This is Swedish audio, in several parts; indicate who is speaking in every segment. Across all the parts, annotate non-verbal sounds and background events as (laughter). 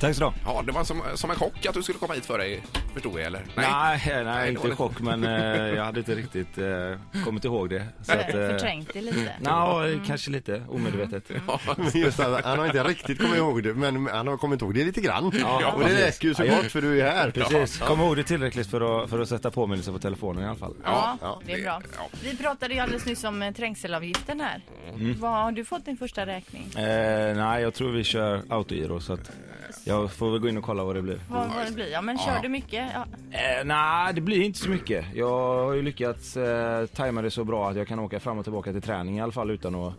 Speaker 1: Tack så du ha.
Speaker 2: Ja, det var som, som en chock att du skulle komma hit för dig, förstod jag eller?
Speaker 1: Nej, nej,
Speaker 2: det
Speaker 1: inte
Speaker 2: var
Speaker 1: i
Speaker 2: det.
Speaker 1: chock men eh, jag hade inte riktigt eh, kommit ihåg det. Så att, eh, Mm.
Speaker 3: Förträngt det lite.
Speaker 1: Nja, kanske lite omedvetet.
Speaker 4: Just det, han har inte riktigt kommit ihåg det, men han har kommit ihåg det lite grann.
Speaker 1: Ja,
Speaker 4: och det
Speaker 1: precis.
Speaker 4: räcker ju så
Speaker 1: Ja, jag-
Speaker 4: gott för du är här.
Speaker 1: Precis, kom ihåg det tillräckligt för att, för att sätta påminnelser på telefonen i alla fall.
Speaker 3: Ja,
Speaker 2: ja,
Speaker 3: det är bra.
Speaker 2: ja.
Speaker 3: Vi pratade ju alldeles nyss om eh, trängselavgiften här.
Speaker 1: Mm.
Speaker 3: Vad har du fått din första räkning?
Speaker 1: Eh, nej, jag tror vi kör autogiro så att jag får väl gå in och kolla vad det blir.
Speaker 3: Vad vad det blir? Ja, men kör du mycket? Ja.
Speaker 1: Eh, nej, det blir inte så mycket. Jag har ju lyckats eh, tajma det så bra att jag kan åka fram och tillbaka till träning i alla fall utan att,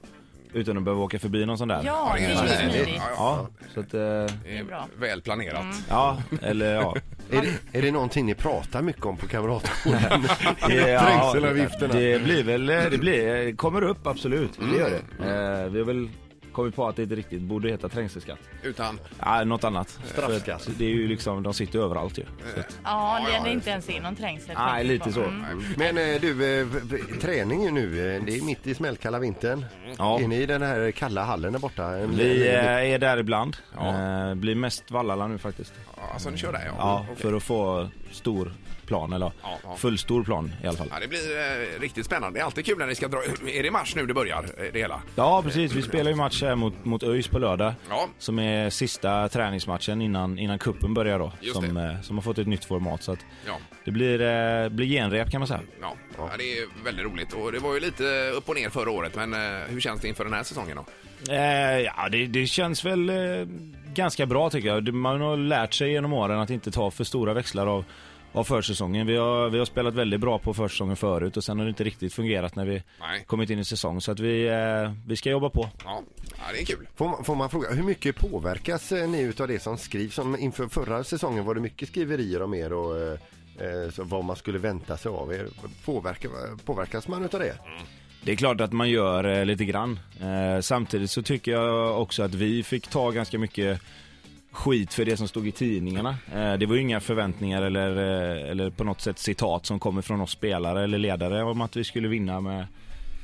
Speaker 1: utan att behöva åka förbi någon sån där.
Speaker 3: Ja, det är ju smidigt.
Speaker 1: Ja, så att, eh,
Speaker 2: Det är Mm.
Speaker 3: bra.
Speaker 2: Väl planerat.
Speaker 1: ja, eller ja.
Speaker 4: Är det, är det någonting ni pratar mycket om på kamratgården?
Speaker 1: (laughs) Ja,
Speaker 4: Trängselavgifterna.
Speaker 1: Det blir väl, eh, det blir, det kommer upp absolut, det gör det. Eh, vi har väl kommit på att det inte riktigt borde heta trängselskatt.
Speaker 2: Utan,
Speaker 1: Nej, något annat.
Speaker 4: Straffskatt.
Speaker 1: För att Det är ju liksom, de sitter ju överallt ju. Så att-
Speaker 3: Ja, det är inte ens är någon trängsel.
Speaker 1: Nej, lite så.
Speaker 3: Mm.
Speaker 4: Men eh, du, eh, v- v- träning ju nu. eh, Det är mitt i smällkalla vintern.
Speaker 1: Ja.
Speaker 4: Är ni i den här kalla hallen där borta? En-
Speaker 1: Vi eh,
Speaker 4: en-
Speaker 1: är där ibland. Eh, blir mest Vallala nu faktiskt.
Speaker 2: ja, alltså ni kör där ja.
Speaker 1: Ja,
Speaker 2: Okej.
Speaker 1: för att få stor plan eller
Speaker 2: Ja, ja.
Speaker 1: fullstor plan i alla fall.
Speaker 2: ja det blir eh, riktigt spännande. Det är alltid kul när ni ska dra. (clears throat) Är det i mars nu det börjar, eh, det hela?
Speaker 1: Ja, precis. Vi spelar ju match här mot, mot ÖIS på lördag.
Speaker 2: Ja.
Speaker 1: Som är sista träningsmatchen innan, innan kuppen börjar då.
Speaker 2: Just
Speaker 1: som,
Speaker 2: det.
Speaker 1: eh, som har fått ett nytt format. Så att
Speaker 2: Ja.
Speaker 1: det blir, eh, blir genrep kan man säga.
Speaker 2: Ja. ja, det är väldigt roligt. Och det var ju lite upp och ner förra året, men eh, hur känns det inför den här säsongen då?
Speaker 1: Eh, ja, det, det känns väl eh, ganska bra tycker jag. Det- Man har lärt sig genom åren att inte ta för stora växlar av, av försäsongen. Vi har, vi har spelat väldigt bra på försäsongen förut och sen har det inte riktigt fungerat när vi
Speaker 2: Nej.
Speaker 1: kommit in i säsong. Så att vi, eh, vi ska jobba på.
Speaker 2: Ja, ja det är kul.
Speaker 4: Får man, får man fråga, hur mycket påverkas eh, ni utav det som skrivs? Som inför förra säsongen var det mycket skriverier om er och eh, eh, så vad man skulle vänta sig av er. Påverka, påverkas man utav det?
Speaker 1: Det är klart att man gör eh, lite grann. Eh, samtidigt så tycker jag också att vi fick ta ganska mycket skit för det som stod i tidningarna. Eh, det var ju inga förväntningar eller, eh, eller på något sätt citat som kommer från oss spelare eller ledare om att vi skulle vinna med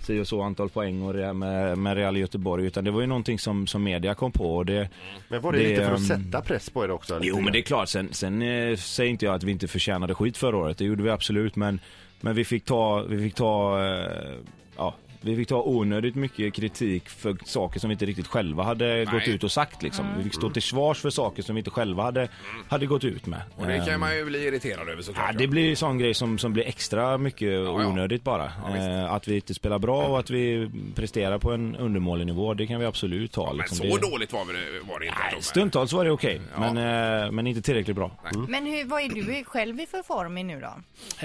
Speaker 1: si och så antal poäng och det här med, med Real Göteborg utan det var ju någonting som, som media kom på och det,
Speaker 4: Men var det, lite för att
Speaker 1: ehm,
Speaker 4: sätta press på er också? lite
Speaker 1: Jo men
Speaker 4: grann?
Speaker 1: det är klart, sen, sen eh, säger inte jag att vi inte förtjänade skit förra året, det gjorde vi absolut men, men vi fick ta, vi fick ta, eh, ja, vi fick ta onödigt mycket kritik för saker som vi inte riktigt själva hade gått ut och sagt liksom.
Speaker 2: Mm.
Speaker 1: Vi fick stå till svars för saker som vi inte själva hade, hade gått ut med.
Speaker 2: Och det
Speaker 1: Eh,
Speaker 2: kan man ju bli irriterad över såklart.
Speaker 1: Ja, det blir ju sån grej som, som blir extra mycket
Speaker 2: ja.
Speaker 1: onödigt bara.
Speaker 2: visst.
Speaker 1: eh, att vi inte spelar bra och att vi presterar på en undermålig nivå, det kan vi absolut ta.
Speaker 2: Men
Speaker 1: liksom.
Speaker 2: så
Speaker 1: Det-
Speaker 2: dåligt var det, var det inte.
Speaker 1: Nej,
Speaker 2: Robert.
Speaker 1: Stundtals var det okej, men, eh, men inte tillräckligt bra.
Speaker 3: Men hur, vad är du själv i för form i nu då?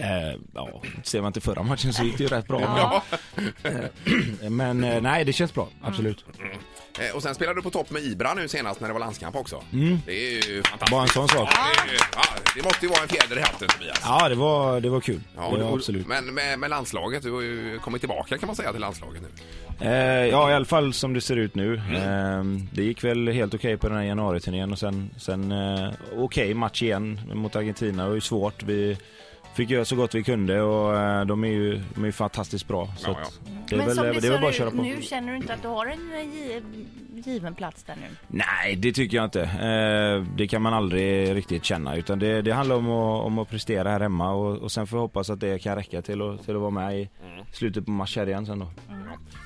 Speaker 1: Eh, ja, ser man till förra matchen så gick det ju rätt bra. Men, eh, men eh, nej, det känns bra.
Speaker 2: Mm.
Speaker 1: Absolut.
Speaker 2: Eh, Och sen spelade du på topp med Ibra nu senast när det var landskamp också.
Speaker 1: Mm.
Speaker 2: Det är ju fantastiskt.
Speaker 1: Bara en sån sak.
Speaker 2: Ja, det, är ju- ja, det måste ju vara en fjäder i hatten Tobias.
Speaker 1: Ja, det var, det var kul. det var
Speaker 2: och-
Speaker 1: absolut.
Speaker 2: Men med, med landslaget, du har ju kommit tillbaka kan man säga till landslaget nu.
Speaker 1: Eh, ja, i alla fall som det ser ut nu.
Speaker 2: Mm.
Speaker 1: Eh, det gick väl helt okej på den här januariturnén och sen, sen eh, okej match igen mot Argentina. Det var ju svårt. Vi fick göra så gott vi kunde och eh, de är ju, de är ju fantastiskt bra. Så
Speaker 2: Ja, ja.
Speaker 1: Att det är
Speaker 3: men
Speaker 1: väl,
Speaker 3: som
Speaker 1: det är väl bara att
Speaker 3: ser
Speaker 1: köra
Speaker 3: ut
Speaker 1: på.
Speaker 3: nu, känner du inte att du har en eh, gi- given plats där nu?
Speaker 1: Nej, det tycker jag inte. Eh, det kan man aldrig riktigt känna. Utan det, det handlar om att, om att prestera här hemma och, och sen får jag hoppas att det kan räcka till att, till att vara med i slutet på matchen igen sen då.
Speaker 2: Mm.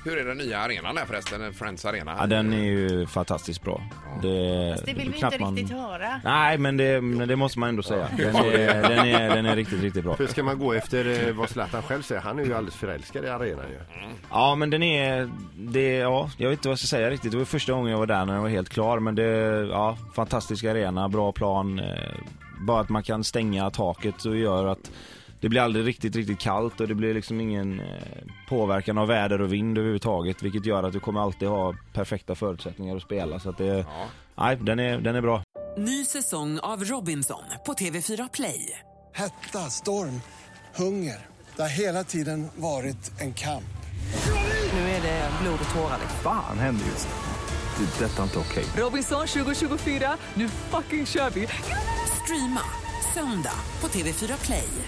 Speaker 2: Hur är den nya arenan där förresten? Friends Arena?
Speaker 1: Ja, den är ju fantastiskt bra. Det,
Speaker 3: Det vill vi inte
Speaker 1: knappt man-
Speaker 3: riktigt höra.
Speaker 1: Nej, men det, men det måste man ändå säga. Den är, den är, den är riktigt, riktigt bra.
Speaker 4: För ska man gå efter eh, vad Zlatan själv säger, han är ju alldeles förälskad i arenan ju.
Speaker 1: Ja, men den är... Det, ja, jag vet inte vad jag ska säga riktigt. Det var första gången jag var där när den var helt klar. Men det... Ja, fantastisk arena, bra plan. Eh, bara att man kan stänga taket och gör att det blir aldrig riktigt, riktigt kallt och det blir liksom ingen eh, påverkan av väder och vind överhuvudtaget. Vilket gör att du kommer alltid ha perfekta förutsättningar att spela. Så att det...
Speaker 2: Ja.
Speaker 1: Nej, den är, den är bra.
Speaker 5: Ny säsong av Robinson på TV4 Play.
Speaker 6: Hetta, storm, hunger. Det har hela tiden varit en kamp.
Speaker 5: Nu är det blod och tårar. liksom.
Speaker 7: Fan händer just nu. Det. är Detta är inte okej.
Speaker 5: Robinson 2024, nu fucking kör vi! Streama söndag på TV4 Play.